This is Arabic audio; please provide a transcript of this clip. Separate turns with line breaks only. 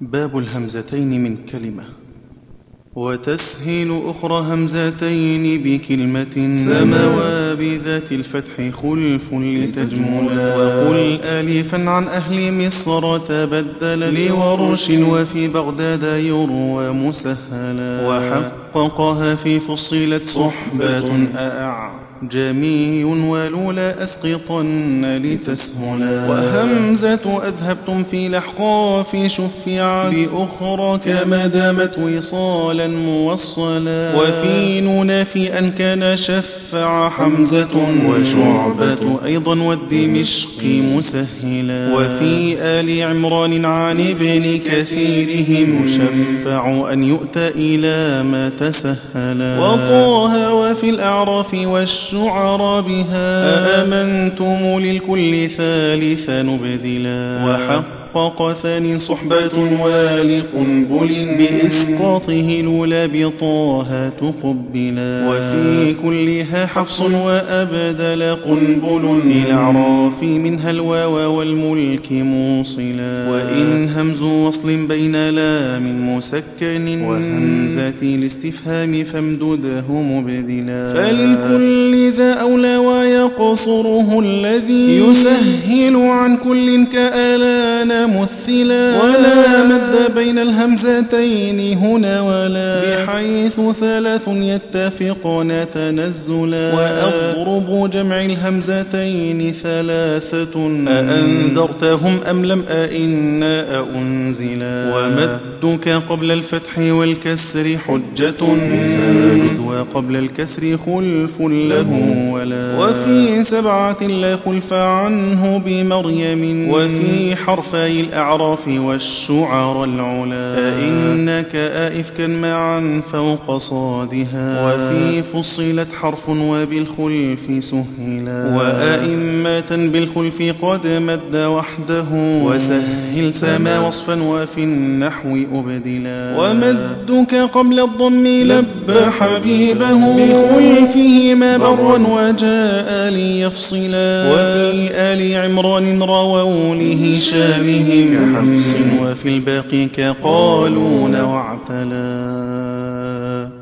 باب الهمزتين من كلمة وتسهيل أخرى همزتين بكلمة سموا بذات الفتح خلف لتجملا وقل ألفا عن أهل مصر تبدل لورش وفي بغداد يروى مسهلا وحققها في فصلت صحبة أأعلى جميع ولولا أسقطن لتسهلا وهمزة أذهبتم في الأحقاف شفعت بأخرى كما دامت وصالا موصلا وفي نون في أن كان شفع حمزة وشعبة أيضا والدمشق مسهلا وفي آل عمران عن ابن كثيرهم شفع أن يؤتى إلى ما تسهلا وطه وفي الأعراف والش الشعر بها أأمنتم للكل ثالث نبذلا وحقق ثاني صحبة والق بل بإسقاطه لولا بطاها تقبلا وفي كلها حفص وأبدل قنبل للأعراف منها الواو والملك موصلا وإن همز وصل بين لام مسكن وهمزة الاستفهام فامدده مبدلا فلكل ذا أولى ويقصره الذي يسهل عن كل كألان مثلا ولا مد بين الهمزتين هنا ولا بحيث ثلاث يتفقان تنزلا وأضرب جمع الهمزتين ثلاثة أأنذرتهم أم لم أئنا أأنزلا ومدك قبل الفتح والكسر حجة وقبل الكسر خلف له ولا وفي سبعة لا خلف عنه بمريم وفي حرفي الأعراف والشعر العلا أئنك آئفكا معا فوق صادها وفي فصلت حرف وبالخلف سهلا وأئمة بالخلف قد مد وحده وسهل سما وصفا وفي النحو أبدلا ومدك قبل الضم لب حبيبه بخلفه ما برا وجاء ليفصلا وفي آل عمران رووا لهشامهم حفص وفي الباقي كقالون واعتلا